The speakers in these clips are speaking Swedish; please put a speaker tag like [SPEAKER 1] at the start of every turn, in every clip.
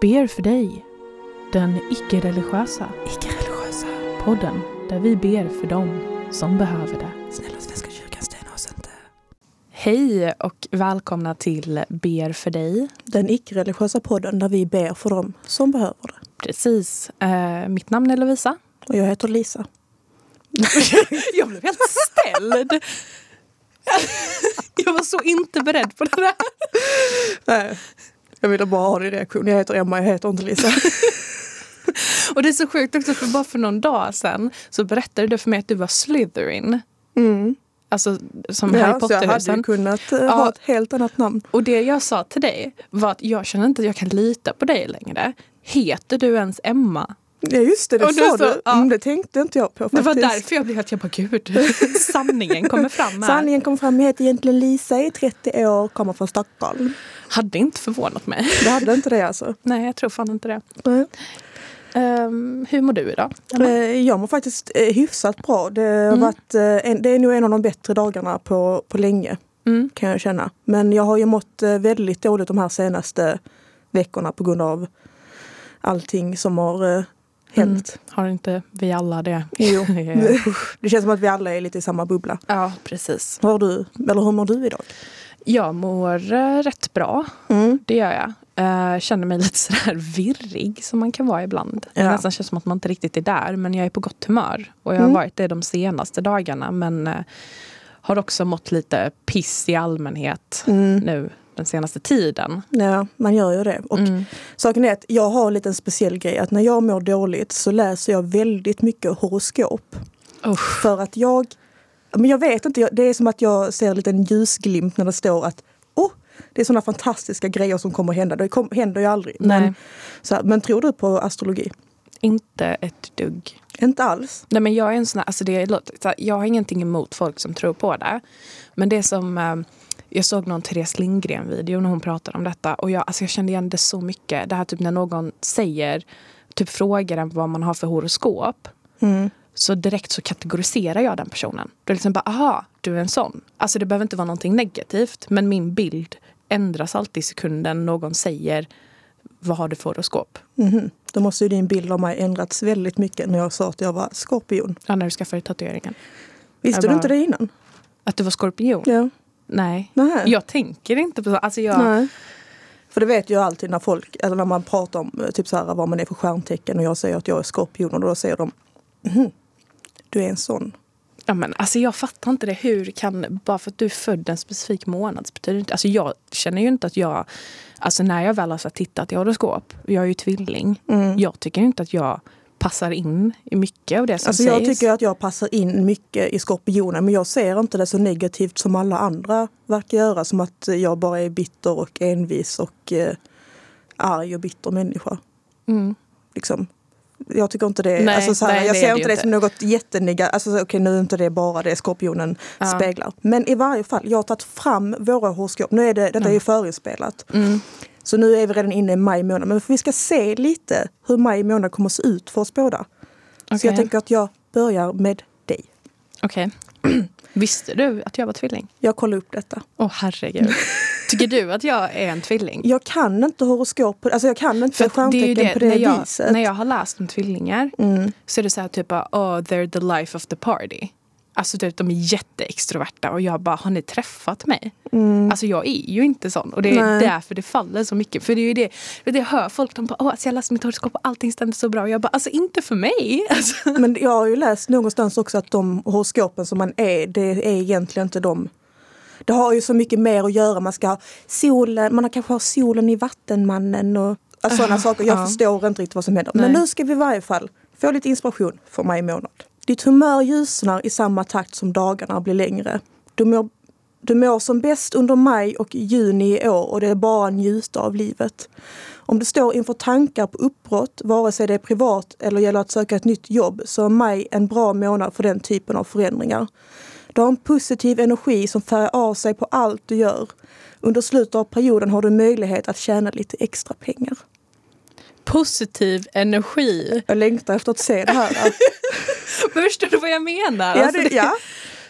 [SPEAKER 1] ber för dig, den icke-religiösa
[SPEAKER 2] Icke-religiösa.
[SPEAKER 1] podden där vi ber för dem som behöver det.
[SPEAKER 2] Snälla Svenska kyrkan, stäna oss inte. Hej och välkomna till Ber för dig.
[SPEAKER 3] Den icke-religiösa podden där vi ber för dem som behöver det.
[SPEAKER 2] Precis. Eh, mitt namn är Lovisa.
[SPEAKER 3] Och jag heter Lisa.
[SPEAKER 2] Jag blev helt ställd. Jag var så inte beredd på det där.
[SPEAKER 3] Nej, jag ville bara ha din reaktion. Jag heter Emma, jag heter inte Lisa.
[SPEAKER 2] Och det är så sjukt också för bara för någon dag sedan så berättade du för mig att du var Slytherin.
[SPEAKER 3] Mm.
[SPEAKER 2] Alltså som
[SPEAKER 3] Ja,
[SPEAKER 2] Harry
[SPEAKER 3] så jag hade
[SPEAKER 2] Potter-husen.
[SPEAKER 3] ju kunnat eh,
[SPEAKER 2] Ja.
[SPEAKER 3] ha ett helt annat namn.
[SPEAKER 2] Och det jag sa till dig var att jag känner inte att jag kan lita på dig längre. Heter du ens Emma?
[SPEAKER 3] Ja just det, det
[SPEAKER 2] Och du
[SPEAKER 3] sa
[SPEAKER 2] sa-
[SPEAKER 3] du.
[SPEAKER 2] ja.
[SPEAKER 3] Mm, det tänkte inte jag på faktiskt.
[SPEAKER 2] Det var därför jag blev helt, jag bara gud, sanningen kommer fram här.
[SPEAKER 3] Sanningen kom fram. Jag heter egentligen Lisa, är 30 år, kommer från Stockholm.
[SPEAKER 2] Hade inte förvånat mig.
[SPEAKER 3] Det hade inte det alltså.
[SPEAKER 2] Nej, jag tror fan inte det.
[SPEAKER 3] Nej.
[SPEAKER 2] Ehm, hur mår du idag?
[SPEAKER 3] Eh, Jag mår faktiskt eh, hyfsat bra. Det, har varit, eh, en, det är nog en av de bättre dagarna på, på länge.
[SPEAKER 2] Mm.
[SPEAKER 3] kan jag känna. Men jag har ju mått eh, väldigt dåligt de här senaste veckorna på grund av allting som har eh, hänt.
[SPEAKER 2] Har inte vi alla det?
[SPEAKER 3] Mm. Jo.
[SPEAKER 2] Ja.
[SPEAKER 3] Det känns som att vi alla är lite i samma bubbla.
[SPEAKER 2] ja, precis.
[SPEAKER 3] Hör du, eller hur mår du idag?
[SPEAKER 2] Jag mår eh, rätt bra,
[SPEAKER 3] Mm.
[SPEAKER 2] det gör jag. Eh, känner mig lite sådär virrig som man kan vara ibland. Det
[SPEAKER 3] Ja.
[SPEAKER 2] nästan känns som att man inte riktigt är där, men jag är på gott humör. Och jag har
[SPEAKER 3] Mm.
[SPEAKER 2] varit det de senaste dagarna, men eh, har också mått lite piss i allmänhet
[SPEAKER 3] Mm.
[SPEAKER 2] nu den senaste tiden.
[SPEAKER 3] Ja, man gör ju det. Och
[SPEAKER 2] Mm.
[SPEAKER 3] saken är att jag har en liten speciell grej. Att när jag mår dåligt så läser jag väldigt mycket horoskop.
[SPEAKER 2] Usch.
[SPEAKER 3] För att jag, men jag vet inte, jag- det är som att jag ser en liten ljusglimt när det står att oh, det är sådana fantastiska grejer som kommer hända. Det kom, händer ju aldrig.
[SPEAKER 2] Nej.
[SPEAKER 3] Men, så här, men tror du på astrologi?
[SPEAKER 2] Inte ett dugg.
[SPEAKER 3] Inte alls.
[SPEAKER 2] Nej men jag är en sån här, alltså det låter, så här, jag har ingenting emot folk som tror på det. Men det som, eh, jag såg någon Therese Lindgren-video när hon pratade om detta och jag, alltså jag kände igen det så mycket. Det här typ när någon säger, typ frågar en vad man har för horoskop. Så direkt så kategoriserar jag den personen. Då är det liksom bara, aha, du är en sån. Alltså det behöver inte vara någonting negativt. Men min bild ändras alltid i sekunden någon säger, vad har du för horoskop?
[SPEAKER 3] Mhm. Då måste ju din bild av mig ändrats väldigt mycket när jag sa att jag var skorpion.
[SPEAKER 2] Ja, när du skaffade tatueringen.
[SPEAKER 3] Visste
[SPEAKER 2] Jag bara-
[SPEAKER 3] du inte det innan?
[SPEAKER 2] Att du var skorpion?
[SPEAKER 3] Ja.
[SPEAKER 2] Nej.
[SPEAKER 3] Nej.
[SPEAKER 2] Jag tänker inte på så. Alltså jag,
[SPEAKER 3] Nej. För det vet jag alltid när folk, eller när man pratar om eh, typ så här, vad man är för stjärntecken och jag säger att jag är skorpion och då säger de "Mhm, du är en sån.
[SPEAKER 2] ja, men, alltså jag fattar inte det. Hur kan, bara för att du är född en specifik månad så betyder det inte... Alltså jag känner ju inte att jag... Alltså när jag väl har så här tittat i horoskop, jag är ju tvilling.
[SPEAKER 3] Mm.
[SPEAKER 2] Jag tycker inte att jag passar in i mycket av det som
[SPEAKER 3] Alltså
[SPEAKER 2] sägs.
[SPEAKER 3] jag tycker att jag passar in mycket i skorpionen men jag ser inte det så negativt som alla andra verkar göra. Som att jag bara är bitter och envis och eh, arg och bitter människa.
[SPEAKER 2] Mm.
[SPEAKER 3] Liksom. Jag tycker inte det.
[SPEAKER 2] Nej,
[SPEAKER 3] alltså så här,
[SPEAKER 2] nej,
[SPEAKER 3] jag
[SPEAKER 2] det är
[SPEAKER 3] ser
[SPEAKER 2] det ju
[SPEAKER 3] inte det
[SPEAKER 2] inte.
[SPEAKER 3] som något jättenegativt. Alltså, så, Okej, nu är inte det bara det skorpionen
[SPEAKER 2] Ja.
[SPEAKER 3] speglar. Men i varje fall, jag har tagit fram våra horoskop. Nu är det, detta är ju förinspelat.
[SPEAKER 2] Mm.
[SPEAKER 3] Så nu är vi redan inne i maj månad. Men vi ska se lite hur maj månad kommer att se ut för oss båda. Så
[SPEAKER 2] Okej.
[SPEAKER 3] jag tänker att jag börjar med dig.
[SPEAKER 2] Okej. Visste du att jag var tvilling?
[SPEAKER 3] Jag kollar upp detta.
[SPEAKER 2] Åh herregud. tycker du att jag är en tvilling?
[SPEAKER 3] Jag kan inte horoskop, på- alltså jag kan inte
[SPEAKER 2] att ju
[SPEAKER 3] stjärntecken på det
[SPEAKER 2] när jag,
[SPEAKER 3] viset. Mm.
[SPEAKER 2] När jag har läst om tvillingar så är det så här typ av, oh, they're the life of the party. Alltså typ, de är jätteextroverta och jag bara, har ni träffat mig? Alltså jag är ju inte sån och det är
[SPEAKER 3] Mm. Nej.
[SPEAKER 2] därför det faller så mycket. För det är ju det, det, jag hör folk, de bara, åh alltså jag läste mitt horoskop och allting stämde så bra. Och jag bara, alltså inte för mig. Alltså,
[SPEAKER 3] Men jag har ju läst någonstans också att de horoskopen som man är, det är egentligen inte de. Det har ju så mycket mer att göra. Man ska ha solen, man har kanske har solen i Vattenmannen och alltså, sådana saker. Jag
[SPEAKER 2] ja.
[SPEAKER 3] förstår inte riktigt vad som händer.
[SPEAKER 2] Nej.
[SPEAKER 3] Men nu ska vi i varje fall få lite inspiration för maj månad. Ditt humör ljusnar i samma takt som dagarna blir längre. Du mår, du mår som bäst under maj och juni i år och det är bara att njuta av livet. Om du står inför tankar på uppbrott, vare sig det är privat eller gäller att söka ett nytt jobb, så är maj en bra månad för den typen av förändringar. Du har en positiv energi som färgar av sig på allt du gör. Under slutet av perioden har du möjlighet att tjäna lite extra pengar.
[SPEAKER 2] positiv energi.
[SPEAKER 3] Jag längtar efter att se det här.
[SPEAKER 2] Förstår du vad jag menar?
[SPEAKER 3] ja,
[SPEAKER 2] Alltså,
[SPEAKER 3] det, ja.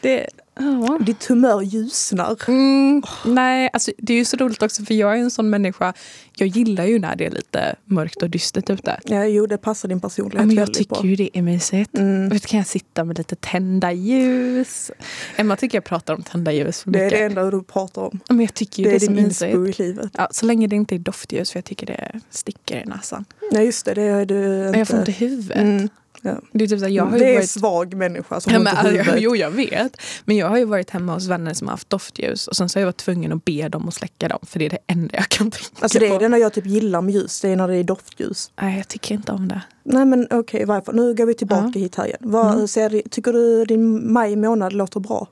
[SPEAKER 2] det, Ja.
[SPEAKER 3] Ditt humör ljusnar.
[SPEAKER 2] Mm, nej, alltså, det är ju så roligt också för jag är en sån människa. Jag gillar ju när det är lite mörkt och dystert ute.
[SPEAKER 3] Ja, jo, det passar din
[SPEAKER 2] Ja,
[SPEAKER 3] personlighet
[SPEAKER 2] men jag
[SPEAKER 3] väldigt
[SPEAKER 2] tycker
[SPEAKER 3] bra.
[SPEAKER 2] ju det är mysigt.
[SPEAKER 3] Mm.
[SPEAKER 2] Vet, du, kan jag sitta med lite tända ljus? Emma tycker jag pratar om tända ljus för
[SPEAKER 3] Det är
[SPEAKER 2] mycket.
[SPEAKER 3] det enda du pratar om.
[SPEAKER 2] Ja, Men jag tycker ju
[SPEAKER 3] Det
[SPEAKER 2] det,
[SPEAKER 3] är
[SPEAKER 2] är så
[SPEAKER 3] din
[SPEAKER 2] mysigt.
[SPEAKER 3] inspo i livet.
[SPEAKER 2] Ja, så länge det inte är doftljus för jag tycker det sticker i näsan.
[SPEAKER 3] Nej, just det. Det är du inte.
[SPEAKER 2] Men jag får inte huvudet.
[SPEAKER 3] Mm. Ja.
[SPEAKER 2] Det är typ så här, jag har
[SPEAKER 3] det
[SPEAKER 2] ju
[SPEAKER 3] är
[SPEAKER 2] varit...
[SPEAKER 3] svag människa som
[SPEAKER 2] Ja,
[SPEAKER 3] har
[SPEAKER 2] men,
[SPEAKER 3] ont i
[SPEAKER 2] alltså,
[SPEAKER 3] huvudet.
[SPEAKER 2] jo, jag vet. Men jag har ju varit hemma hos vänner som har haft doftljus och sen så har jag varit tvungen att be dem att släcka dem för det är det enda jag kan tänka
[SPEAKER 3] Alltså det
[SPEAKER 2] på.
[SPEAKER 3] är det enda jag typ gillar med ljus, det är när det är doftljus.
[SPEAKER 2] Nej, jag tycker inte om det.
[SPEAKER 3] Nej men okej, varför? Nu går vi tillbaka hit här igen. Vad,
[SPEAKER 2] Mm.
[SPEAKER 3] ser, du- tycker du din maj månad låter bra?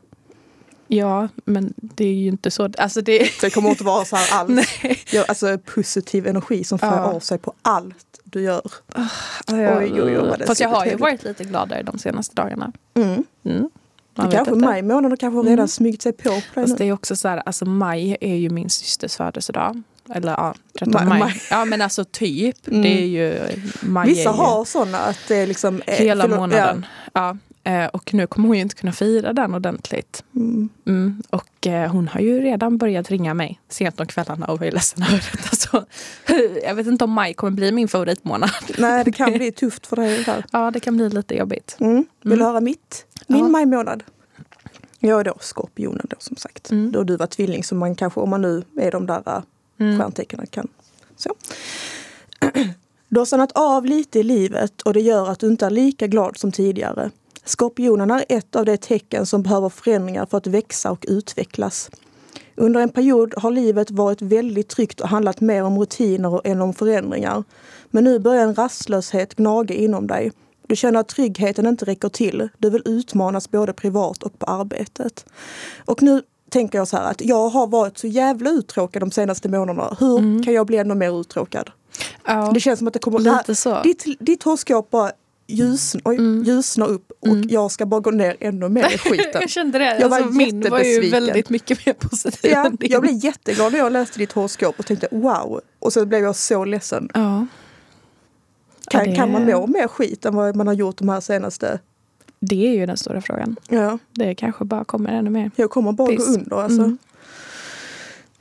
[SPEAKER 2] Ja, men det är ju inte så. Alltså det...
[SPEAKER 3] Det kommer inte vara så här alls.
[SPEAKER 2] Nej.
[SPEAKER 3] Jag, alltså positiv energi som för
[SPEAKER 2] Ja.
[SPEAKER 3] av sig på allt du gör. Oj, oj, oj, vad det
[SPEAKER 2] Fast jag har ju
[SPEAKER 3] trevligt.
[SPEAKER 2] varit lite gladare de senaste dagarna.
[SPEAKER 3] Mm.
[SPEAKER 2] Mm. Man
[SPEAKER 3] Det
[SPEAKER 2] vet
[SPEAKER 3] kanske
[SPEAKER 2] inte.
[SPEAKER 3] maj månad har kanske redan
[SPEAKER 2] Mm.
[SPEAKER 3] smygit sig på. på dig
[SPEAKER 2] Fast
[SPEAKER 3] nu.
[SPEAKER 2] det är också så här, alltså maj är ju min systers födelsedag. Eller ja, 13
[SPEAKER 3] Ma-
[SPEAKER 2] maj.
[SPEAKER 3] maj.
[SPEAKER 2] Ja men alltså typ.
[SPEAKER 3] Mm.
[SPEAKER 2] Det är ju, maj
[SPEAKER 3] Vissa
[SPEAKER 2] är ju
[SPEAKER 3] har sådana att det är liksom... eh,
[SPEAKER 2] hela
[SPEAKER 3] förlåt,
[SPEAKER 2] månaden. Ja. Eh, Och nu kommer hon ju inte kunna fira den ordentligt.
[SPEAKER 3] Ja. Mm.
[SPEAKER 2] Mm. Och eh, hon har ju redan börjat ringa mig sent om kvällarna och jag är ledsen över detta. Så, jag vet inte om maj kommer bli min favoritmånad.
[SPEAKER 3] Nej, det kan bli tufft för dig där.
[SPEAKER 2] Ja, det kan bli lite jobbigt.
[SPEAKER 3] Mm. Vill du
[SPEAKER 2] Mm.
[SPEAKER 3] höra mitt? Min
[SPEAKER 2] Ja.
[SPEAKER 3] majmånad? Jag är då skorpionen då som sagt.
[SPEAKER 2] Mm.
[SPEAKER 3] Då du var tvilling så man kanske, om man nu är de där äh,
[SPEAKER 2] Mm.
[SPEAKER 3] stjärntecknen kan. Så. Du har stannat av lite i livet och det gör att du inte är lika glad som tidigare. Skorpionen är ett av de tecken som behöver förändringar för att växa och utvecklas. Under en period har livet varit väldigt tryggt och handlat mer om rutiner än om förändringar. Men nu börjar en rastlöshet gnaga inom dig. Du känner att tryggheten inte räcker till. Du vill utmanas både privat och på arbetet. Och nu tänker jag så här att jag har varit så jävla uttråkad de senaste månaderna. Hur
[SPEAKER 2] Mm.
[SPEAKER 3] kan jag bli ännu mer uttråkad?
[SPEAKER 2] Ja,
[SPEAKER 3] Det känns som att det kommer...
[SPEAKER 2] lite så.
[SPEAKER 3] Ditt, ditt hårskåp bara ljusn, oj,
[SPEAKER 2] Mm.
[SPEAKER 3] ljusnar upp och
[SPEAKER 2] Mm.
[SPEAKER 3] jag ska bara gå ner ännu mer i skiten.
[SPEAKER 2] Jag kände det.
[SPEAKER 3] Jag var
[SPEAKER 2] alltså, min var ju
[SPEAKER 3] jättebesviken.
[SPEAKER 2] väldigt mycket mer positiv
[SPEAKER 3] ja,
[SPEAKER 2] än din.
[SPEAKER 3] jag blev jätteglad när jag läste ditt hårskåp och tänkte wow. Och så blev jag så ledsen.
[SPEAKER 2] Ja.
[SPEAKER 3] Kan,
[SPEAKER 2] Ja, det-
[SPEAKER 3] kan man må mer skit än vad man har gjort de här senaste?
[SPEAKER 2] Det är ju den stora frågan.
[SPEAKER 3] Ja,
[SPEAKER 2] Det kanske bara kommer ännu mer.
[SPEAKER 3] jag kommer bara
[SPEAKER 2] Piss.
[SPEAKER 3] gå under alltså.
[SPEAKER 2] Mm.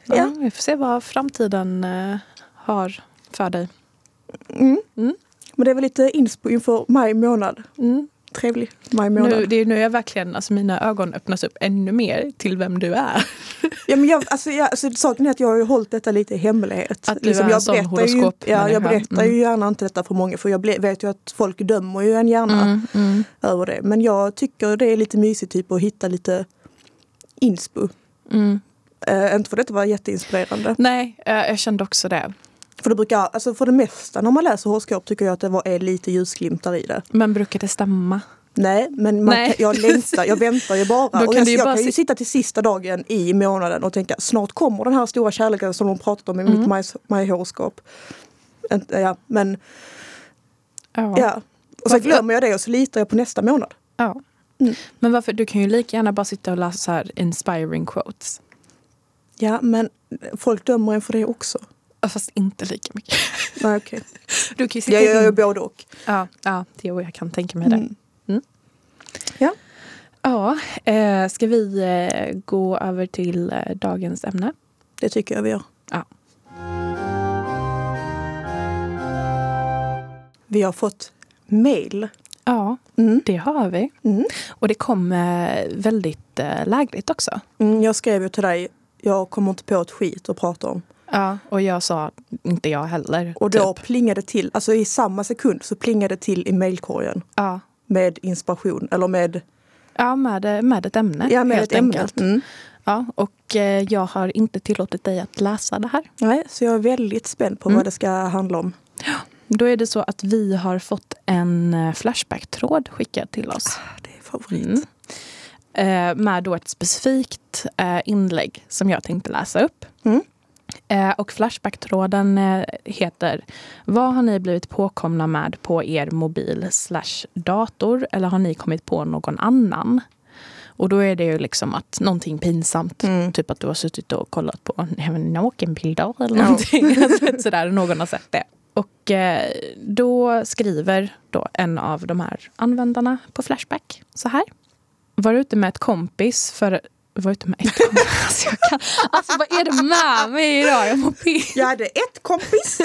[SPEAKER 2] Ja,
[SPEAKER 3] Ja.
[SPEAKER 2] Vi får se vad framtiden eh, har för dig.
[SPEAKER 3] Mm.
[SPEAKER 2] Mm.
[SPEAKER 3] Men det är väl lite inspo inför maj månad.
[SPEAKER 2] Mm.
[SPEAKER 3] Trevlig maj månad.
[SPEAKER 2] Nu, det är nu jag verkligen, alltså mina ögon öppnas upp ännu mer till vem du är.
[SPEAKER 3] Ja, men jag, alltså, jag, alltså, saken är att jag har ju hållit detta lite i hemlighet. Liksom,
[SPEAKER 2] Att du är en
[SPEAKER 3] jag
[SPEAKER 2] sån
[SPEAKER 3] berättar ju, ja,
[SPEAKER 2] horoskopmänniska.
[SPEAKER 3] jag berättar ju
[SPEAKER 2] Mm.
[SPEAKER 3] gärna inte detta för många för jag ble, vet ju att folk dömer ju en gärna
[SPEAKER 2] Mm.
[SPEAKER 3] över det. Men jag tycker det är lite mysigt typ att hitta lite inspo.
[SPEAKER 2] Mm.
[SPEAKER 3] Eh, inte för detta var jätteinspirerande.
[SPEAKER 2] Nej, eh, jag kände också det.
[SPEAKER 3] För det, brukar, alltså för det mesta när man läser horoskop tycker jag att det var, är lite ljusglimtar i det.
[SPEAKER 2] Men brukar det stämma?
[SPEAKER 3] Nej, men man
[SPEAKER 2] Nej.
[SPEAKER 3] Kan, jag längtar, jag väntar ju bara.
[SPEAKER 2] Då
[SPEAKER 3] och
[SPEAKER 2] kan
[SPEAKER 3] jag
[SPEAKER 2] du ju
[SPEAKER 3] jag
[SPEAKER 2] bara
[SPEAKER 3] kan ju
[SPEAKER 2] sit-
[SPEAKER 3] sitta till sista dagen i månaden och tänka snart kommer den här stora kärleken som de pratat om i mitt
[SPEAKER 2] Mm.
[SPEAKER 3] maj- majhoroskop. Ent- Ja, men
[SPEAKER 2] Ja.
[SPEAKER 3] ja. Och sen
[SPEAKER 2] Varför-
[SPEAKER 3] glömmer jag det och så litar jag på nästa månad.
[SPEAKER 2] Ja.
[SPEAKER 3] Mm.
[SPEAKER 2] Men varför, du kan ju lika gärna bara sitta och läsa så här inspiring quotes.
[SPEAKER 3] Ja, men folk dömer en för det också.
[SPEAKER 2] Ja, Fast inte lika mycket.
[SPEAKER 3] Nej, okej.
[SPEAKER 2] Du kan ju
[SPEAKER 3] Jag gör ju
[SPEAKER 2] in.
[SPEAKER 3] både och.
[SPEAKER 2] Ja, ja, det jag kan tänka mig det.
[SPEAKER 3] Mm.
[SPEAKER 2] Ja, eh, ska vi eh, gå över till eh, dagens ämne?
[SPEAKER 3] Det tycker jag vi gör.
[SPEAKER 2] Ja.
[SPEAKER 3] Vi har fått mail.
[SPEAKER 2] Ja,
[SPEAKER 3] Mm.
[SPEAKER 2] det har vi.
[SPEAKER 3] Mm.
[SPEAKER 2] Och det kom eh, väldigt eh, lägligt också.
[SPEAKER 3] Mm, jag skrev ju till dig, jag kommer inte på ett skit att prata om.
[SPEAKER 2] Ja, och jag sa inte jag heller.
[SPEAKER 3] Och då
[SPEAKER 2] typ.
[SPEAKER 3] plingade det till, alltså i samma sekund så plingade det till i mejlkorgen
[SPEAKER 2] ja.
[SPEAKER 3] med inspiration eller med,
[SPEAKER 2] ja, med, med ett ämne
[SPEAKER 3] ja, med
[SPEAKER 2] helt
[SPEAKER 3] ett ämne.
[SPEAKER 2] enkelt.
[SPEAKER 3] Mm.
[SPEAKER 2] Ja, och eh, jag har inte tillåtit dig att läsa det här.
[SPEAKER 3] Nej, så jag är väldigt spänd på
[SPEAKER 2] Mm.
[SPEAKER 3] vad det ska handla om.
[SPEAKER 2] Då är det så att vi har fått en eh, Flashback-tråd skickad till oss.
[SPEAKER 3] Det är favorit.
[SPEAKER 2] Mm. Eh, Med då ett specifikt eh, inlägg som jag tänkte läsa upp.
[SPEAKER 3] Mm.
[SPEAKER 2] Eh, Och Flashback-tråden eh, heter Vad har ni blivit påkomna med på er mobil slash dator? Eller har ni kommit på någon annan? Och då är det ju liksom att någonting pinsamt.
[SPEAKER 3] Mm.
[SPEAKER 2] Typ att du har suttit och kollat på nakenbilder eller
[SPEAKER 3] Ja.
[SPEAKER 2] någonting. Alltså, vet, Sådär, och någon har sett det. Och eh, då skriver då en av de här användarna på Flashback så här. var ute med ett kompis för... Var ute med ett kompis? Alltså, jag kan, alltså vad är det med mig idag? Jag mår piss.
[SPEAKER 3] Jag hade ett kompis.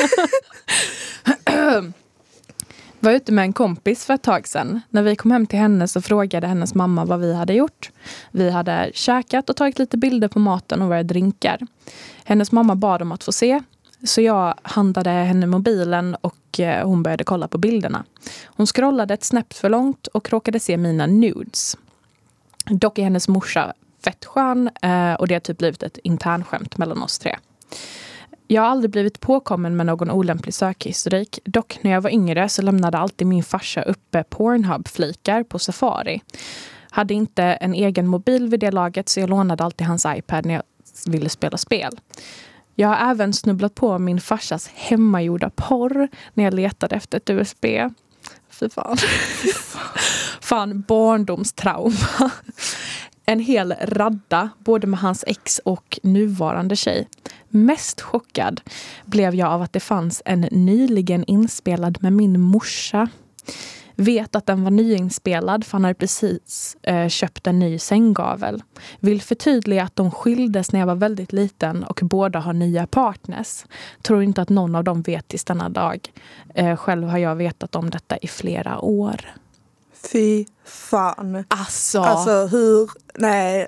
[SPEAKER 2] var ute med en kompis för ett tag sedan. När vi kom hem till henne så frågade hennes mamma vad vi hade gjort. Vi hade käkat och tagit lite bilder på maten och våra drinkar. Hennes mamma bad om att få se. Så jag handlade henne mobilen och eh, hon började kolla på bilderna. Hon scrollade ett snäpp för långt och råkade se mina nudes. Dock är hennes morsa fett skön eh, och det har typ blivit ett internskämt mellan oss tre. Jag har aldrig blivit påkommen med någon olämplig sökhistorik. Dock när jag var yngre så lämnade alltid min farsa uppe Pornhub-flikar på Safari. Hade inte en egen mobil vid det laget så jag lånade alltid hans iPad när jag ville spela spel. Jag har även snubblat på min farsas hemmagjorda porr när jag letade efter ett USB. Fy fan. fan, barndomstrauma. En hel radda, både med hans ex och nuvarande tjej. Mest chockad blev jag av att det fanns en nyligen inspelad med min morsa. Vet att den var nyinspelad för han hade precis eh, köpt en ny sänggavel. Vill förtydliga att de skildes när jag var väldigt liten och båda har nya partners. Tror inte att någon av dem vet tills denna dag. Eh, själv har jag vetat om detta i flera år.
[SPEAKER 3] Fy fan.
[SPEAKER 2] Alltså,
[SPEAKER 3] Alltså hur, nej.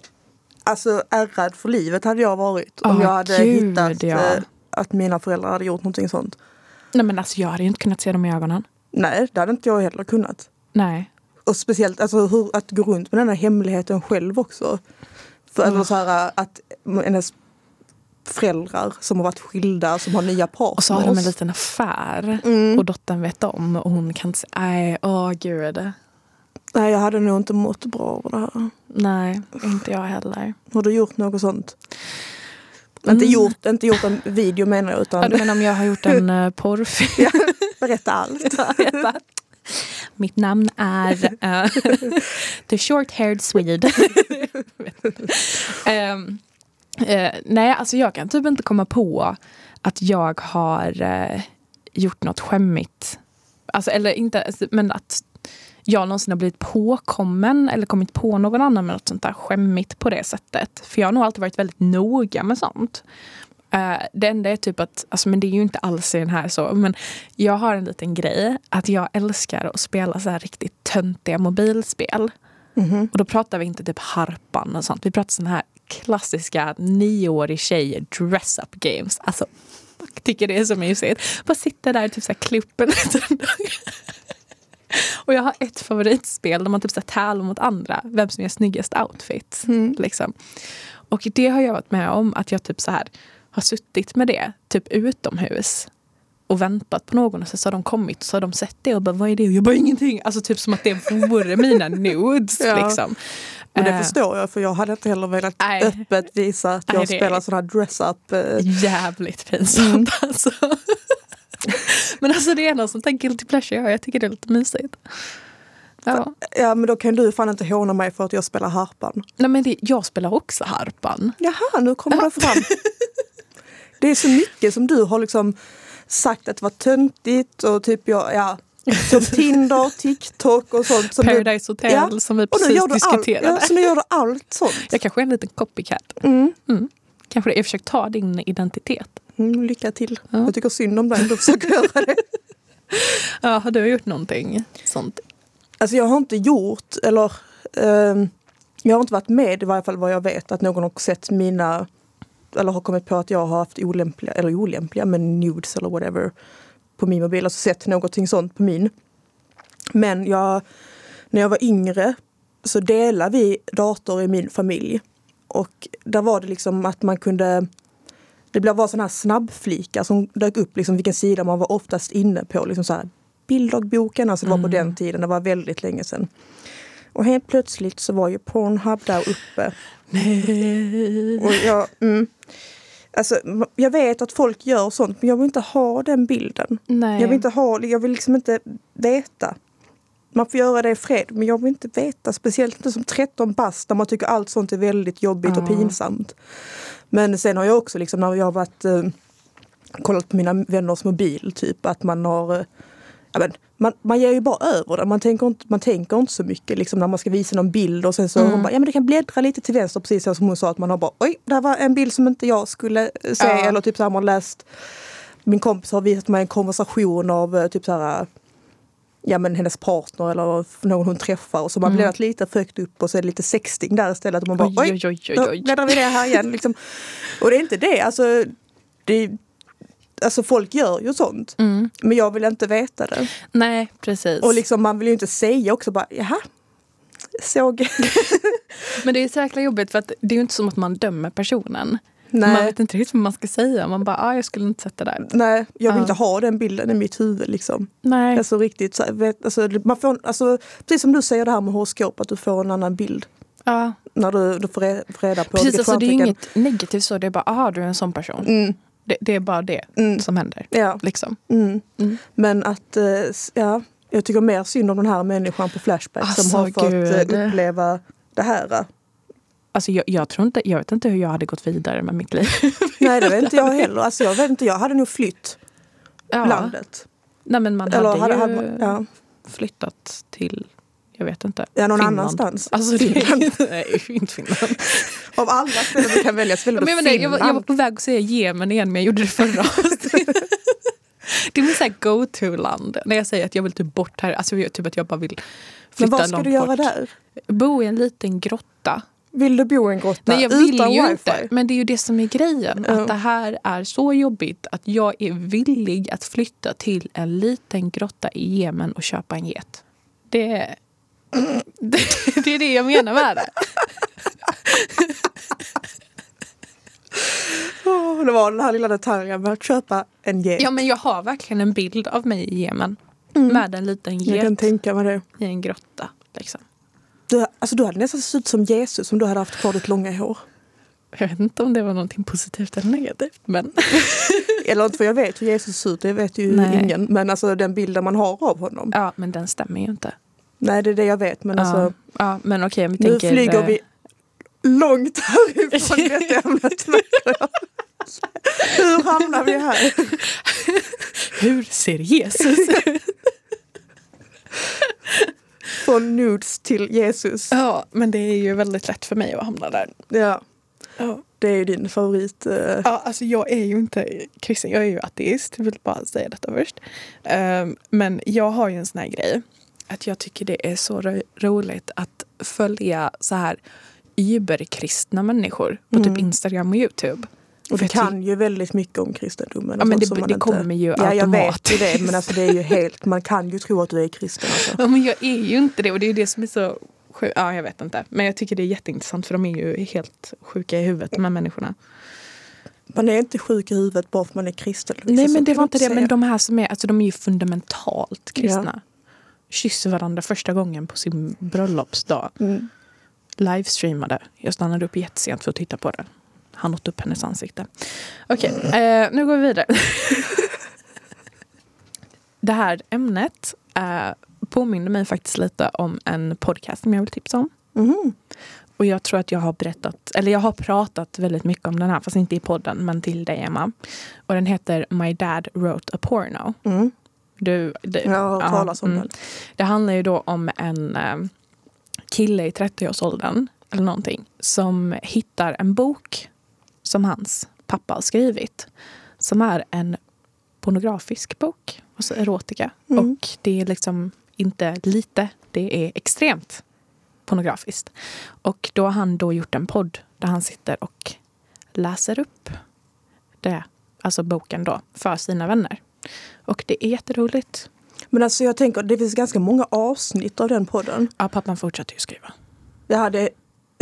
[SPEAKER 3] Alltså ärrad för livet hade jag varit. Om
[SPEAKER 2] Åh,
[SPEAKER 3] jag hade
[SPEAKER 2] gud,
[SPEAKER 3] hittat
[SPEAKER 2] ja.
[SPEAKER 3] eh, att mina föräldrar hade gjort någonting sånt.
[SPEAKER 2] nej men alltså jag hade ju inte kunnat se dem i ögonen.
[SPEAKER 3] Nej, det hade inte jag heller kunnat.
[SPEAKER 2] Nej.
[SPEAKER 3] Och speciellt alltså, hur, att gå runt med den här hemligheten själv också. För, eller så här, eh, att hennes föräldrar som har varit skilda, som har nya partners.
[SPEAKER 2] Och så har de en liten affär
[SPEAKER 3] Mm.
[SPEAKER 2] och dottern vet om och hon kan inte säga nej, åh gud.
[SPEAKER 3] Nej, jag hade nog inte mått bra av det här.
[SPEAKER 2] Nej, inte jag heller.
[SPEAKER 3] Har du gjort något sånt?
[SPEAKER 2] Mm.
[SPEAKER 3] Inte, gjort, inte gjort en video menar jag,
[SPEAKER 2] Ja,
[SPEAKER 3] utan
[SPEAKER 2] du menar om jag har gjort en eh, porrfilm?
[SPEAKER 3] berätta allt.
[SPEAKER 2] Mitt namn är eh, The Short-Haired Swede. Ehm, eh, nej, alltså jag kan typ inte komma på att jag har eh, gjort något skämmigt. Alltså, eller inte, alltså, men att jag någonsin har blivit påkommen eller kommit på någon annan med något sånt där skämmigt på det sättet. För jag har nog alltid varit väldigt noga med sånt. Eh, det enda är typ att, alltså, men det är ju inte alls i den här så, men jag har en liten grej att jag älskar att spela så här riktigt töntiga mobilspel.
[SPEAKER 3] Mhm.
[SPEAKER 2] Och då pratar vi inte typ harpan och sånt. Vi pratar såna här klassiska nioårig tjej dress-up games. Alltså, jag tycker det är så mysigt. Bara sitta där och typ så här klipper lite. Och jag har ett favoritspel där man typ så här tävlar mot andra. Vem som gör snyggast outfit. Liksom. Och det har jag varit med om att jag typ så här har suttit med det typ utomhus och väntat på någon och sen så har de kommit och så har de sett det och bara vad är det? Och jag bara ingenting. Alltså typ som att det vore mina nudes
[SPEAKER 3] Ja.
[SPEAKER 2] liksom.
[SPEAKER 3] Men det
[SPEAKER 2] Eh,
[SPEAKER 3] förstår jag för jag hade inte heller velat
[SPEAKER 2] Nej.
[SPEAKER 3] öppet visa att jag
[SPEAKER 2] Nej, det-
[SPEAKER 3] spelar sån här dress-up. eh,
[SPEAKER 2] Jävligt pinsamt
[SPEAKER 3] Mm.
[SPEAKER 2] alltså. Men alltså det är något sånt där guilty pleasure jag har. Jag tycker det är lite mysigt. Ja.
[SPEAKER 3] Ja men då kan du fan inte håna mig för att jag spelar harpan.
[SPEAKER 2] Nej, men det, jag spelar också harpan.
[SPEAKER 3] Jaha, nu kommer det fram. Det är så mycket som du har liksom sagt att det var töntigt och typ jag, ja, som Tinder, TikTok och sånt. Som du,
[SPEAKER 2] Paradise Hotel
[SPEAKER 3] Ja.
[SPEAKER 2] som vi
[SPEAKER 3] och nu
[SPEAKER 2] precis
[SPEAKER 3] gör du allt,
[SPEAKER 2] diskuterade.
[SPEAKER 3] ja, så nu gör du allt sånt.
[SPEAKER 2] Jag kanske är en liten copycat.
[SPEAKER 3] Mm.
[SPEAKER 2] Mm. Kanske det. Jag försöker ta din identitet.
[SPEAKER 3] Mm, lycka till.
[SPEAKER 2] Ja.
[SPEAKER 3] Jag tycker synd om dig, du försöker göra det.
[SPEAKER 2] Ja, har du gjort någonting sånt?
[SPEAKER 3] Alltså jag har inte gjort, eller ehm, jag har inte varit med i varje fall vad jag vet att någon har sett mina, eller har kommit på att jag har haft olämpliga, eller olämpliga, men nudes eller whatever på min mobil. Alltså sett någonting sånt på min. Men jag, när jag var yngre så delade vi dator i min familj. Och där var det liksom att man kunde det blev bara sådana här snabbflikar som dök upp liksom vilken sida man var oftast inne på. Liksom så här, bilddagboken, alltså det var på den tiden, det var väldigt länge sedan. Och helt plötsligt så var ju Pornhub där uppe.
[SPEAKER 2] Nej.
[SPEAKER 3] Och jag, mm, alltså, jag vet att folk gör sånt men jag vill inte ha den bilden.
[SPEAKER 2] Nej.
[SPEAKER 3] Jag vill, inte ha, jag vill liksom inte veta. Man får göra det i fred, men jag vill inte veta. Speciellt inte som 13 bast där man tycker allt sånt är väldigt jobbigt och
[SPEAKER 2] Ja.
[SPEAKER 3] pinsamt. Men sen har jag också liksom när jag har varit, eh, kollat på mina vänners mobil, typ att man har eh, ja, men, man, man ger ju bara över det. Man tänker inte, man tänker inte så mycket liksom, när man ska visa någon bild och sen så
[SPEAKER 2] Mm.
[SPEAKER 3] hon bara, ja men du kan bläddra lite till vänster precis så som hon sa att man har bara, oj, där var en bild som inte jag skulle eh, se
[SPEAKER 2] Ja.
[SPEAKER 3] eller typ så här, man har läst, min kompis har visat mig en konversation av eh, typ så här Ja men hennes partner eller någon hon träffar och så man bläddrat lite för högt upp och så är det lite sexting där istället. Och man bara,
[SPEAKER 2] Mm. Oj,
[SPEAKER 3] oj,
[SPEAKER 2] oj, oj, oj, oj.
[SPEAKER 3] då bläddrar vi det här igen. Liksom. Och det är inte det. Alltså, det alltså folk gör ju sånt. Men jag vill inte veta det.
[SPEAKER 2] Mm. Nej, precis.
[SPEAKER 3] Och liksom, man vill ju inte säga också bara, jaha, såg.
[SPEAKER 2] Men det är så jäkla jobbigt för att det är ju inte som att man dömer personen.
[SPEAKER 3] Nej.
[SPEAKER 2] Man vet inte riktigt vad man ska säga. Man bara, ah, jag skulle inte sätta där.
[SPEAKER 3] Nej, jag vill
[SPEAKER 2] Ja.
[SPEAKER 3] inte ha den bilden i mitt huvud. Liksom.
[SPEAKER 2] Nej.
[SPEAKER 3] Alltså, riktigt, så här, vet, alltså, man får, alltså, precis som du säger det här med horoskop, att du får en annan bild.
[SPEAKER 2] Ja.
[SPEAKER 3] När du, du får re- får reda på
[SPEAKER 2] Precis,
[SPEAKER 3] vilket
[SPEAKER 2] alltså, det är ju
[SPEAKER 3] stjärntecken-
[SPEAKER 2] inget negativt så. Det är bara, aha, du är en sån person.
[SPEAKER 3] Mm,
[SPEAKER 2] Det, det är bara det
[SPEAKER 3] Mm.
[SPEAKER 2] som händer.
[SPEAKER 3] ja.
[SPEAKER 2] Liksom.
[SPEAKER 3] Mm.
[SPEAKER 2] Mm.
[SPEAKER 3] Men att, eh, s- ja, jag tycker mer synd om den här människan på Flashback
[SPEAKER 2] Alltså,
[SPEAKER 3] som har fått eh,
[SPEAKER 2] gud.
[SPEAKER 3] uppleva det här.
[SPEAKER 2] Alltså, jag, jag, tror inte, jag vet inte hur jag hade gått vidare med mitt liv.
[SPEAKER 3] Nej, det vet inte jag heller. Alltså, jag, vet inte, jag hade nog flytt
[SPEAKER 2] Ja.
[SPEAKER 3] landet.
[SPEAKER 2] Nej, men man
[SPEAKER 3] Eller
[SPEAKER 2] hade,
[SPEAKER 3] hade,
[SPEAKER 2] ju
[SPEAKER 3] hade man, ja,
[SPEAKER 2] flyttat till, jag vet inte.
[SPEAKER 3] ja, någon
[SPEAKER 2] Finland.
[SPEAKER 3] annanstans.
[SPEAKER 2] Alltså,
[SPEAKER 3] Finland.
[SPEAKER 2] Det, nej, inte Finland.
[SPEAKER 3] Av alla ställen du kan välja så väljer
[SPEAKER 2] Ja, men
[SPEAKER 3] du
[SPEAKER 2] jag, menar, jag,
[SPEAKER 3] Finland.
[SPEAKER 2] var, jag var på väg att säga Jemen igen, men jag gjorde det förra avsnittet. Det är mitt så här go-to-land. När jag säger att jag vill typ bort här, alltså jag- typ att jag bara vill flytta
[SPEAKER 3] men vad ska
[SPEAKER 2] långt
[SPEAKER 3] du göra
[SPEAKER 2] bort.
[SPEAKER 3] där?
[SPEAKER 2] Bo i en liten grotta.
[SPEAKER 3] Vill du bo i en grotta
[SPEAKER 2] Nej, jag vill
[SPEAKER 3] utan
[SPEAKER 2] ju
[SPEAKER 3] wifi?
[SPEAKER 2] inte. Men det är ju det som är grejen.
[SPEAKER 3] Ja.
[SPEAKER 2] Att det här är så jobbigt att jag är villig att flytta till en liten grotta i Jemen och köpa en get. Det, det, det är det jag menar med det.
[SPEAKER 3] Åh, det var den här lilla detaljen med att köpa en get.
[SPEAKER 2] Ja, men jag har verkligen en bild av mig i Jemen. Med en liten
[SPEAKER 3] Mm. jag
[SPEAKER 2] get
[SPEAKER 3] kan tänka mig
[SPEAKER 2] i
[SPEAKER 3] det.
[SPEAKER 2] en grotta. Liksom.
[SPEAKER 3] Du, alltså, du hade nästan sett ut som Jesus om du hade haft kvar ditt långa hår.
[SPEAKER 2] Jag vet inte om det var någonting positivt eller negativt. Men...
[SPEAKER 3] Eller inte för jag vet hur Jesus ser ut, det vet ju
[SPEAKER 2] Nej.
[SPEAKER 3] ingen. Men alltså den bilden man har av honom.
[SPEAKER 2] Ja, men den stämmer ju inte.
[SPEAKER 3] Nej det är det jag vet men alltså.
[SPEAKER 2] ja, ja, men okej, vi
[SPEAKER 3] Nu
[SPEAKER 2] tänker...
[SPEAKER 3] flyger
[SPEAKER 2] eh,
[SPEAKER 3] vi långt härifrån detta ämnet. märker jag. hur hamnar vi här?
[SPEAKER 2] Hur ser Jesus ut?
[SPEAKER 3] Från nudes till Jesus.
[SPEAKER 2] ja, men det är ju väldigt lätt för mig att hamna där.
[SPEAKER 3] Ja,
[SPEAKER 2] Ja.
[SPEAKER 3] det är ju din favorit. eh,
[SPEAKER 2] Ja, alltså jag är ju inte kristen, jag är ju ateist. Jag vill bara säga detta först. Ehm, men jag har ju en sån här grej. Att jag tycker det är så ro- roligt att följa så här überkristna människor på
[SPEAKER 3] Mm.
[SPEAKER 2] typ Instagram och Youtube.
[SPEAKER 3] Och du
[SPEAKER 2] För typ- jag ty-
[SPEAKER 3] kan ju väldigt mycket om kristendomen.
[SPEAKER 2] Ja, men
[SPEAKER 3] sånt
[SPEAKER 2] det-
[SPEAKER 3] som man
[SPEAKER 2] det
[SPEAKER 3] inte-
[SPEAKER 2] kommer ju
[SPEAKER 3] Ja, jag vet ju
[SPEAKER 2] automatiskt.
[SPEAKER 3] det. Men alltså det är ju helt, man kan ju tro att du är kristen. Alltså.
[SPEAKER 2] Ja, men jag är ju inte det och det är ju det som är så sjukt. Ja, jag vet inte. Men jag tycker det är jätteintressant för de är ju helt sjuka i huvudet de här människorna.
[SPEAKER 3] Man är inte sjuk i huvudet bara för att man är kristen. Lovisa,
[SPEAKER 2] Nej
[SPEAKER 3] så
[SPEAKER 2] men det
[SPEAKER 3] kan
[SPEAKER 2] var
[SPEAKER 3] man
[SPEAKER 2] inte det.
[SPEAKER 3] säga.
[SPEAKER 2] Men de här som är, alltså de är ju fundamentalt kristna.
[SPEAKER 3] Ja.
[SPEAKER 2] Kysser varandra första gången på sin bröllopsdag.
[SPEAKER 3] Mm.
[SPEAKER 2] Livestreamade. Jag stannade upp jättesent för att titta på det. Han åt upp hennes ansikte. Okej, eh, nu går vi vidare. det här ämnet eh, påminner mig faktiskt lite om en podcast som jag vill tipsa om.
[SPEAKER 3] Mhm.
[SPEAKER 2] Och jag tror att jag har berättat, eller jag har pratat väldigt mycket om den här, fast inte i podden, men till dig Emma. Och den heter My Dad Wrote a Porno.
[SPEAKER 3] Mm.
[SPEAKER 2] Du, det,
[SPEAKER 3] Jag har hört
[SPEAKER 2] ja,
[SPEAKER 3] talas om
[SPEAKER 2] mm.
[SPEAKER 3] den.
[SPEAKER 2] Det handlar ju då om en eh, kille i 30-årsåldern, eller någonting, som hittar en bok som hans pappa har skrivit. Som är en pornografisk bok, alltså erotika.
[SPEAKER 3] Mm.
[SPEAKER 2] Och det är liksom inte lite, det är extremt pornografiskt. Och då har han då gjort en podd där han sitter och läser upp det, alltså boken då, för sina vänner. Och det är jätteroligt.
[SPEAKER 3] Men alltså jag tänker, det finns ganska många avsnitt av den podden.
[SPEAKER 2] Ja, pappan fortsätter ju skriva.
[SPEAKER 3] Jag hade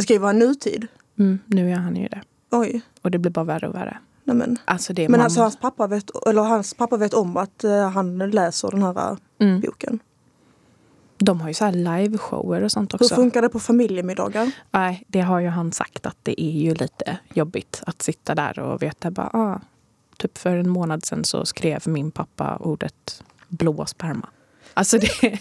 [SPEAKER 3] skriva nutid.
[SPEAKER 2] Mm, nu gör han ju det.
[SPEAKER 3] Oj.
[SPEAKER 2] Och det blir bara värre och värre.
[SPEAKER 3] Nej men.
[SPEAKER 2] Alltså det är
[SPEAKER 3] men
[SPEAKER 2] mamma-
[SPEAKER 3] alltså hans pappa, vet, eller hans pappa vet om att eh, han läser den här eh,
[SPEAKER 2] mm.
[SPEAKER 3] boken.
[SPEAKER 2] De har ju så här liveshower och sånt
[SPEAKER 3] Hur
[SPEAKER 2] också.
[SPEAKER 3] funkar det på familjemiddagar?
[SPEAKER 2] Nej, det har ju han sagt att det är ju lite jobbigt att sitta där och veta bara ah, typ för en månad sedan så skrev min pappa ordet blå sperma. Alltså, det,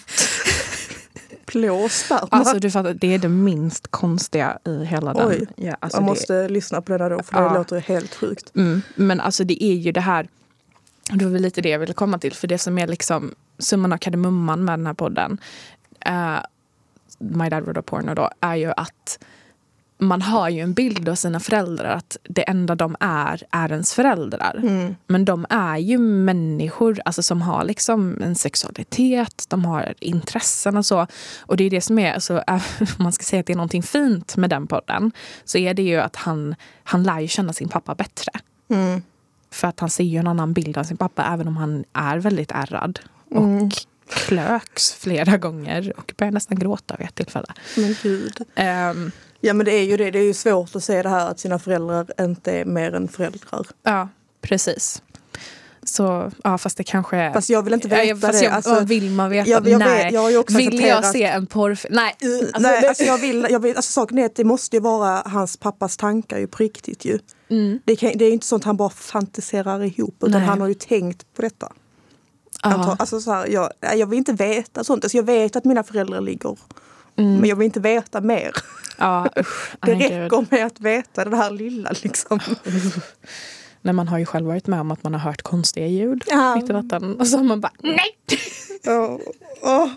[SPEAKER 3] Blå sperma.
[SPEAKER 2] alltså du fattar, det är det minst konstiga i hela
[SPEAKER 3] Oj.
[SPEAKER 2] den. Ja, alltså
[SPEAKER 3] jag
[SPEAKER 2] det-
[SPEAKER 3] måste lyssna på den här då för det
[SPEAKER 2] Ja.
[SPEAKER 3] låter helt sjukt.
[SPEAKER 2] Mm, men alltså det är ju det här, det var väl lite det jag ville komma till, för det som är liksom summan av kardemumman med den här podden, eh, My Dad Wrote a Porno då, är ju att man har ju en bild av sina föräldrar att det enda de är, är ens föräldrar.
[SPEAKER 3] Mm.
[SPEAKER 2] Men de är ju människor alltså, som har liksom en sexualitet, de har intressen och så. Och det är det som är, alltså, om man ska säga att det är någonting fint med den podden, så är det ju att han, han lär ju känna sin pappa bättre.
[SPEAKER 3] Mm.
[SPEAKER 2] För att han ser ju en annan bild av sin pappa, även om han är väldigt ärrad.
[SPEAKER 3] Mm.
[SPEAKER 2] Och klöks flera gånger och börjar nästan gråta vid ett tillfälle.
[SPEAKER 3] Men gud.
[SPEAKER 2] Ehm,
[SPEAKER 3] Ja men det är ju det. Det är ju svårt att se det här att sina föräldrar inte är mer än föräldrar.
[SPEAKER 2] ja, precis. Så, ja, fast det kanske är...
[SPEAKER 3] Fast jag vill inte veta
[SPEAKER 2] Ja, fast
[SPEAKER 3] det.
[SPEAKER 2] jag,
[SPEAKER 3] Alltså,
[SPEAKER 2] vill man veta?
[SPEAKER 3] jag, jag,
[SPEAKER 2] Nej.
[SPEAKER 3] vet, jag har ju också
[SPEAKER 2] Vill jag
[SPEAKER 3] accepterat-
[SPEAKER 2] se en porrfilm? Nej.
[SPEAKER 3] Uh,
[SPEAKER 2] Alltså,
[SPEAKER 3] Nej,
[SPEAKER 2] det-
[SPEAKER 3] alltså jag vill, jag vill, alltså saken är att det måste ju vara hans pappas tankar ju på riktigt ju.
[SPEAKER 2] Mm.
[SPEAKER 3] Det, kan, det är ju inte sånt han bara fantiserar ihop utan
[SPEAKER 2] Nej.
[SPEAKER 3] han har ju tänkt på detta. Antag-
[SPEAKER 2] Ja.
[SPEAKER 3] Alltså så här, jag, nej, jag vill inte veta sånt. Alltså jag vet att mina föräldrar ligger
[SPEAKER 2] Mm.
[SPEAKER 3] men jag vill inte veta mer.
[SPEAKER 2] Ja, usch.
[SPEAKER 3] Det
[SPEAKER 2] Nej, gud.
[SPEAKER 3] räcker med att veta det här lilla liksom.
[SPEAKER 2] Nej, man har ju själv varit med om att man har hört konstiga ljud
[SPEAKER 3] Ja.
[SPEAKER 2] mitt i natten. Och så har man bara nej!
[SPEAKER 3] Åh, åh.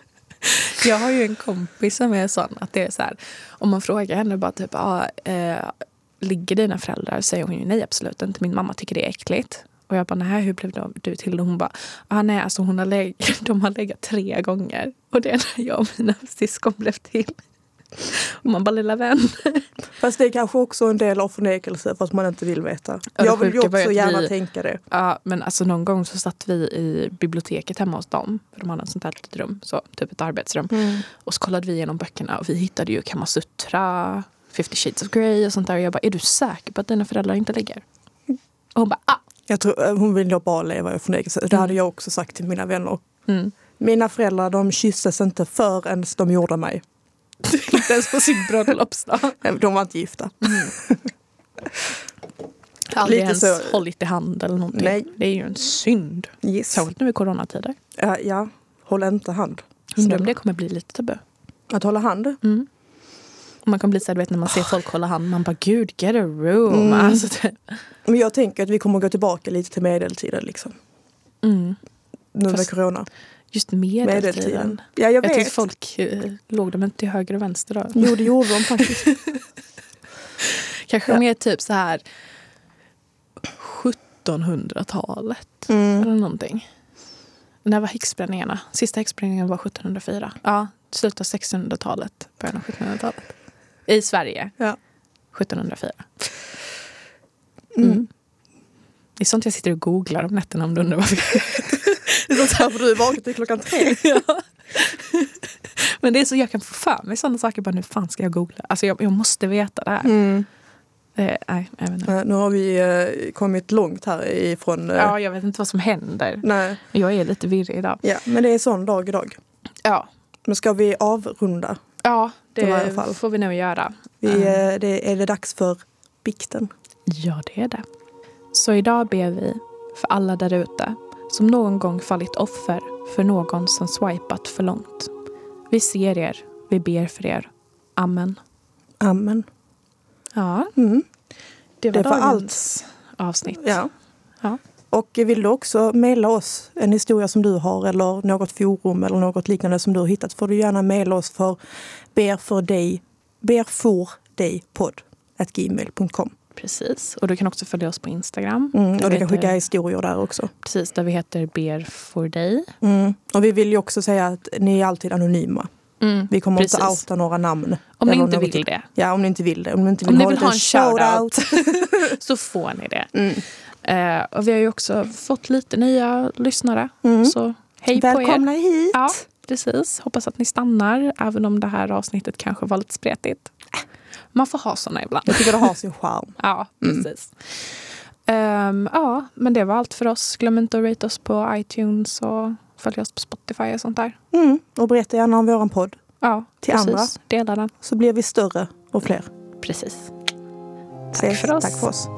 [SPEAKER 2] Jag har ju en kompis som är sån att det är så här, om man frågar henne bara typ ah, eh, ligger dina föräldrar? Säger hon ju nej absolut inte, min mamma tycker det är äckligt. Och jag bara nej hur blev de- du till det? Hon bara ah, nej alltså hon har leg- de har legat tre gånger och det är när jag och mina syskon blev till. Och man bara lilla vän.
[SPEAKER 3] Fast det är kanske också en del av förnekelse för att man inte vill veta.
[SPEAKER 2] det
[SPEAKER 3] jag vill ju
[SPEAKER 2] sjuka var ju
[SPEAKER 3] också
[SPEAKER 2] att
[SPEAKER 3] gärna
[SPEAKER 2] vi-
[SPEAKER 3] tänka det.
[SPEAKER 2] Ja, men alltså någon gång så satt vi i biblioteket hemma hos dem. För de hade ett sånt här litet rum, så, typ ett arbetsrum. Och så kollade vi igenom böckerna och vi hittade ju Kamasutra, 50 shades of Grey och sånt där. Och jag bara, är du säker på att dina föräldrar inte ligger? Och hon bara, ah!
[SPEAKER 3] Jag tror, eh, hon vill nog bara leva i förnekelse. Det hade jag också sagt till mina vänner.
[SPEAKER 2] Mm.
[SPEAKER 3] Mina föräldrar de kysstes inte förrän de gjorde mig.
[SPEAKER 2] Inte ens på sin bröllopsdag.
[SPEAKER 3] De var inte gifta.
[SPEAKER 2] Aldrig
[SPEAKER 3] Lite
[SPEAKER 2] ens
[SPEAKER 3] så.
[SPEAKER 2] hållit i hand eller någonting.
[SPEAKER 3] Nej.
[SPEAKER 2] Det är ju en synd.
[SPEAKER 3] Yes.
[SPEAKER 2] Särskilt nu i coronatider.
[SPEAKER 3] Eh, ja, håll inte hand.
[SPEAKER 2] Undrar om
[SPEAKER 3] Snälla.
[SPEAKER 2] det kommer bli lite tabu.
[SPEAKER 3] Att hålla hand?
[SPEAKER 2] Mm. Och Man kan bli såhär, du vet när man ser folk hålla hand, man bara gud get a room.
[SPEAKER 3] Mm.
[SPEAKER 2] Alltså, det,
[SPEAKER 3] Men jag tänker att vi kommer gå tillbaka lite till medeltiden liksom.
[SPEAKER 2] mm.
[SPEAKER 3] Nu med
[SPEAKER 2] Fast-
[SPEAKER 3] corona.
[SPEAKER 2] Just medeltiden.
[SPEAKER 3] Medeltiden. Ja, jag
[SPEAKER 2] Jag,
[SPEAKER 3] vet.
[SPEAKER 2] tyckte folk eh, låg de inte till höger och vänster då?
[SPEAKER 3] Jo, det gjorde de faktiskt.
[SPEAKER 2] Kanske
[SPEAKER 3] Ja.
[SPEAKER 2] mer typ så här 1700-talet eller någonting. När var häxbränningarna? Sista häxbränningen var 1704. Ja, slutet av 1600-talet, början av 1700-talet. I Sverige.
[SPEAKER 3] Ja.
[SPEAKER 2] 1704.
[SPEAKER 3] Mm.
[SPEAKER 2] Mm. Det är sånt jag sitter och googlar om nätterna om du undrar varför.
[SPEAKER 3] Det är sånt här för du är vaken till klockan tre.
[SPEAKER 2] Ja. Men det är så jag kan få för mig sådana saker. Bara, nu fan ska jag googla? Alltså jag, jag måste veta det här. Eh, Mm. nej, jag vet inte.
[SPEAKER 3] Eh, Nu har vi eh, kommit långt här ifrån... eh,
[SPEAKER 2] Ja, jag vet inte vad som händer.
[SPEAKER 3] Nej.
[SPEAKER 2] Jag är lite virrig idag.
[SPEAKER 3] Ja, men det är en sån dag idag.
[SPEAKER 2] Ja,
[SPEAKER 3] Men ska vi avrunda?
[SPEAKER 2] ja det
[SPEAKER 3] Det var i alla fall.
[SPEAKER 2] får vi nog göra.
[SPEAKER 3] Vi,
[SPEAKER 2] Mm.
[SPEAKER 3] eh, det, är det dags för bikten?
[SPEAKER 2] Ja, det är det. Så idag ber vi för alla där ute som någon gång fallit offer för någon som swipat för långt. Vi ser er, vi ber för er. Amen.
[SPEAKER 3] Amen.
[SPEAKER 2] Ja,
[SPEAKER 3] Mm.
[SPEAKER 2] det
[SPEAKER 3] var
[SPEAKER 2] allt avsnitt.
[SPEAKER 3] Ja.
[SPEAKER 2] Ja.
[SPEAKER 3] Och vill du också mejla oss en historia som du har eller något forum eller något liknande som du har hittat får du gärna mejla oss för berfordej, berfordejpodd gmail.com.
[SPEAKER 2] Precis. Och du kan också följa oss på Instagram.
[SPEAKER 3] Mm, och du
[SPEAKER 2] Där
[SPEAKER 3] kan
[SPEAKER 2] vi
[SPEAKER 3] skicka
[SPEAKER 2] heter-
[SPEAKER 3] historier där också.
[SPEAKER 2] Precis, där vi heter Ber for dig.
[SPEAKER 3] Mm. Och vi vill ju också säga att ni är alltid anonyma. Vi kommer inte
[SPEAKER 2] Mm, Precis.
[SPEAKER 3] outa några namn.
[SPEAKER 2] Om ni
[SPEAKER 3] eller
[SPEAKER 2] inte
[SPEAKER 3] något-
[SPEAKER 2] vill det
[SPEAKER 3] Ja, om ni inte vill det. Om ni inte vill,
[SPEAKER 2] Om ni
[SPEAKER 3] ha,
[SPEAKER 2] vill
[SPEAKER 3] det,
[SPEAKER 2] ha en
[SPEAKER 3] shout-out.
[SPEAKER 2] så får ni det.
[SPEAKER 3] Mm.
[SPEAKER 2] Eh, och vi har ju också fått lite nya lyssnare.
[SPEAKER 3] Mm.
[SPEAKER 2] Så hej på er.
[SPEAKER 3] Välkomna hit!
[SPEAKER 2] Ja, precis. Hoppas att ni stannar, även om det här avsnittet kanske var lite spretigt. Äh, Man får ha såna ibland.
[SPEAKER 3] Jag tycker det har sin charm.
[SPEAKER 2] Ja, precis. Ehm, ja, men det var allt för oss. Glöm inte att rate oss på iTunes och följa oss på Spotify och sånt där.
[SPEAKER 3] Mm. Och berätta gärna om våran podd.
[SPEAKER 2] Ja,
[SPEAKER 3] Till
[SPEAKER 2] precis.
[SPEAKER 3] andra.
[SPEAKER 2] Dela den.
[SPEAKER 3] Så blir vi större och fler.
[SPEAKER 2] Precis. Tack
[SPEAKER 3] Ses.
[SPEAKER 2] för oss.
[SPEAKER 3] Tack för oss.